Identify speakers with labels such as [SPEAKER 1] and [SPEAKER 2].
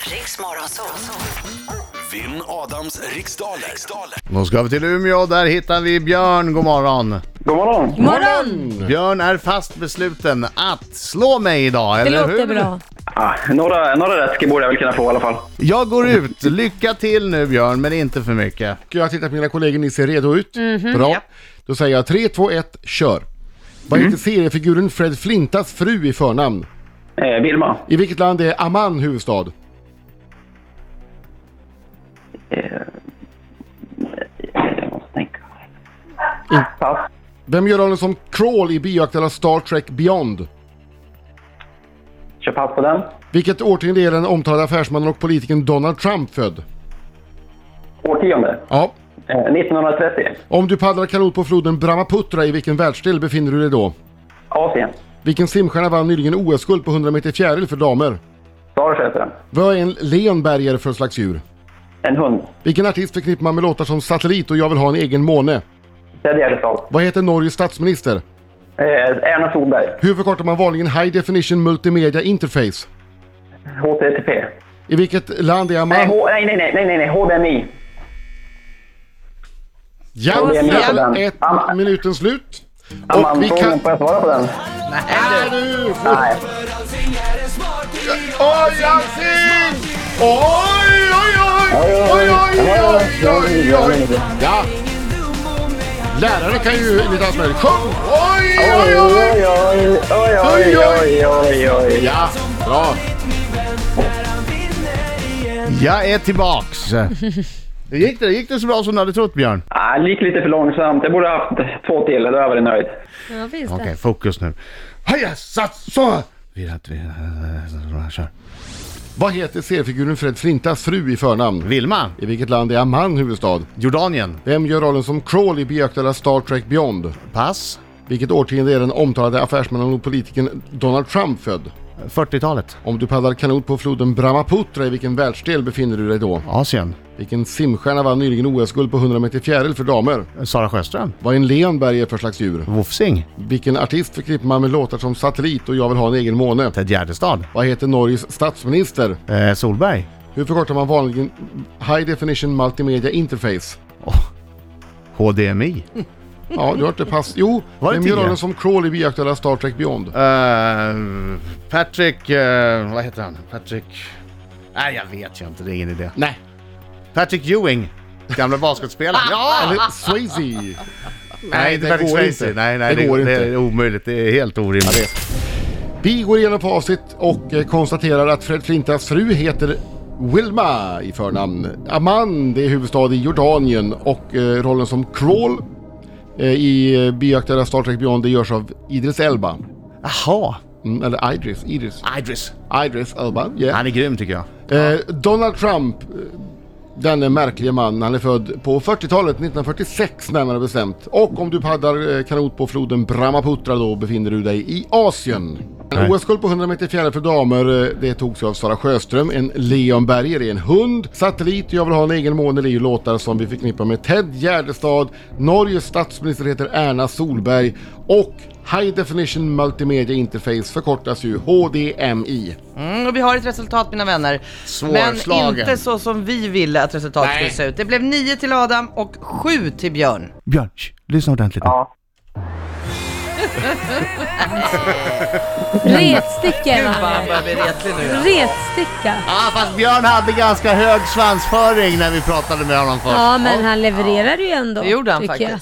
[SPEAKER 1] Riks Morgonzoo.
[SPEAKER 2] Vinn Adams riksdaler. riksdaler.
[SPEAKER 3] Då ska vi till Umeå, där hittar vi Björn. God morgon.
[SPEAKER 4] God morgon.
[SPEAKER 5] Morgon!
[SPEAKER 6] Mm.
[SPEAKER 3] Björn är fast besluten att slå mig idag,
[SPEAKER 5] Det
[SPEAKER 3] eller hur?
[SPEAKER 5] låter bra.
[SPEAKER 4] Ah, några, några rätt ska- borde jag väl kunna få i alla fall.
[SPEAKER 3] Jag går ut. Lycka till nu Björn, men inte för mycket.
[SPEAKER 6] Och jag tittar på mina kollegor, ni ser redo ut.
[SPEAKER 5] Mhm,
[SPEAKER 6] Bra. Då säger jag 3, 2, 1, kör. Vad
[SPEAKER 3] Mm.
[SPEAKER 6] heter seriefiguren Fred Flintas fru i förnamn?
[SPEAKER 4] Eh, Vilma.
[SPEAKER 6] I vilket land är Amman huvudstad?
[SPEAKER 4] Eh, Jag måste tänka. Pass.
[SPEAKER 6] Vem gör rollen som Crawl i bioaktuella Star Trek Beyond?
[SPEAKER 4] Kör pass på den.
[SPEAKER 6] Vilket årtionde är den omtalade affärsmannen och politikern Donald Trump född?
[SPEAKER 4] Årtionde.
[SPEAKER 6] Ja.
[SPEAKER 4] Eh, 1930.
[SPEAKER 6] Om du paddlar kanot på floden Brahmaputra, i vilken världsdel befinner du dig då?
[SPEAKER 4] Asien.
[SPEAKER 6] Vilken simstjärna vann nyligen OS-guld på 100 meter fjäril för damer?
[SPEAKER 4] Sara köper den.
[SPEAKER 6] Vad är en leonbergare för slags djur?
[SPEAKER 4] En hund.
[SPEAKER 6] Vilken artist förknippar man med låtar som Satellit och Jag vill ha en egen måne?
[SPEAKER 4] Ted Gärdestad.
[SPEAKER 6] Vad heter Norges statsminister?
[SPEAKER 4] Eh, Erna Solberg.
[SPEAKER 6] Hur förkortar man vanligen High Definition Multimedia Interface?
[SPEAKER 4] HTTP.
[SPEAKER 6] I vilket land är
[SPEAKER 4] Nej,
[SPEAKER 6] Amman?
[SPEAKER 4] Ah, H- nej, nej, nej, nej, nej, nej, HDMI.
[SPEAKER 6] Ja,
[SPEAKER 4] det är med på den.
[SPEAKER 6] där ett
[SPEAKER 4] Am-
[SPEAKER 6] minuten slut.
[SPEAKER 4] Amman,
[SPEAKER 6] Och vi kan...
[SPEAKER 4] Får jag svara på den?
[SPEAKER 6] Nej, du! får-
[SPEAKER 4] Nej.
[SPEAKER 6] Oj, Alsing! Oj, oj, oj! Oj, oj, oj, oj, oj! Ja! Lärare kan ju enligt hans möjlighet. Sjung! Oj, oj, oj!
[SPEAKER 4] Oj, oj, oj, oj, oj, oj, oj.
[SPEAKER 6] Ja, bra.
[SPEAKER 3] Jag är tillbaks. Det gick, det, gick det så bra som du hade trott Björn?
[SPEAKER 4] Ah, det gick lite för långsamt. Jag borde ha haft två till, då hade jag varit nöjd.
[SPEAKER 5] Ja, visst.
[SPEAKER 3] Okej, fokus nu. Haja, sats, så! Virat, virat, kör.
[SPEAKER 6] Vad heter seriefiguren Fred Flintas fru i förnamn?
[SPEAKER 3] Vilma,
[SPEAKER 6] I vilket land är Amman huvudstad?
[SPEAKER 3] Jordanien,
[SPEAKER 6] Vem gör rollen som Crawl i bioaktuella Star Trek Beyond?
[SPEAKER 3] pass.
[SPEAKER 6] Vilket årtionde är den omtalade affärsmannen och politikern Donald Trump född?
[SPEAKER 3] 40-talet,
[SPEAKER 6] Om du paddlar kanot på floden Brahmaputra, i vilken världsdel befinner du dig då?
[SPEAKER 3] Asien,
[SPEAKER 6] Vilken simstjärna vann nyligen OS-guld på 100 meter fjäril för damer?
[SPEAKER 3] Sara Sjöström,
[SPEAKER 6] Vad är en leonbergare för slags djur?
[SPEAKER 3] Wofsing,
[SPEAKER 6] Vilken artist förknippar man med låtar som Satellit och Jag vill ha en egen måne?
[SPEAKER 3] Ted Gärdestad,
[SPEAKER 6] Vad heter Norges statsminister?
[SPEAKER 3] eh, Solberg.
[SPEAKER 6] Hur förkortar man vanligen High Definition Multimedia Interface?
[SPEAKER 3] HDMI.
[SPEAKER 6] Ja, du har inte pass... Jo,
[SPEAKER 3] Var det
[SPEAKER 6] vem gör
[SPEAKER 3] tio?
[SPEAKER 6] rollen som Crawl i bioaktuella Star Trek Beyond?
[SPEAKER 3] Eh, Patrick... eh, vad heter han? Patrick... Nej, jag vet ju inte. Det är ingen idé.
[SPEAKER 6] Nej.
[SPEAKER 3] Patrick Ewing. Gamla basketspelaren. ja!
[SPEAKER 6] Eller Swayze.
[SPEAKER 3] Nej, inte
[SPEAKER 6] det
[SPEAKER 3] Patrick
[SPEAKER 6] går
[SPEAKER 3] Swayze.
[SPEAKER 6] inte.
[SPEAKER 3] Nej, nej, det,
[SPEAKER 6] Det går
[SPEAKER 3] Det
[SPEAKER 6] inte.
[SPEAKER 3] är omöjligt. Det är helt
[SPEAKER 6] Jag
[SPEAKER 3] orimligt.
[SPEAKER 6] vet. Vi går igenom facit och eh, konstaterar att Fred Flintas fru heter Wilma i förnamn. Amman, det är huvudstad i Jordanien och eh, rollen som Crawl eh, i eh, bioaktuella Star Trek Beyond det görs av Idris Elba.
[SPEAKER 3] Jaha!
[SPEAKER 6] Mm, eller Idris, Idris.
[SPEAKER 3] Idris.
[SPEAKER 6] Idris Elba, yeah.
[SPEAKER 3] Han är grym tycker jag.
[SPEAKER 6] Eh, Donald Trump, eh, denne märkliga man, han är född på 40-talet, 1946 närmare bestämt. Och om du paddlar eh, kanot på floden Brahmaputra då befinner du dig i Asien. En OS-guld på 100 meter fjäril för damer, eh, det togs ju av Sara Sjöström. En leonberger är en hund. Satellit, Jag vill ha en egen måne, det är ju låtar som vi förknippar med Ted Gärdestad. Norges statsminister heter Erna Solberg. Och High Definition Multimedia Interface förkortas ju HDMI.
[SPEAKER 7] Mm, och vi har ett resultat mina vänner.
[SPEAKER 3] Svårslagen.
[SPEAKER 7] Men inte så som vi ville att resultatet skulle se ut. Det blev 9 till Adam och 7 till Björn.
[SPEAKER 3] Björn, shh, lyssna ordentligt nu.
[SPEAKER 4] Ja.
[SPEAKER 5] Retsticka
[SPEAKER 7] Fan
[SPEAKER 5] Magnus.
[SPEAKER 7] vad jag blir retlig nu.
[SPEAKER 5] Retsticka.
[SPEAKER 3] Ah, fast Björn hade ganska hög svansföring när vi pratade med honom först.
[SPEAKER 5] Ja, men han levererar ju ändå.
[SPEAKER 7] Det gjorde han
[SPEAKER 5] tycker jag.
[SPEAKER 7] faktiskt.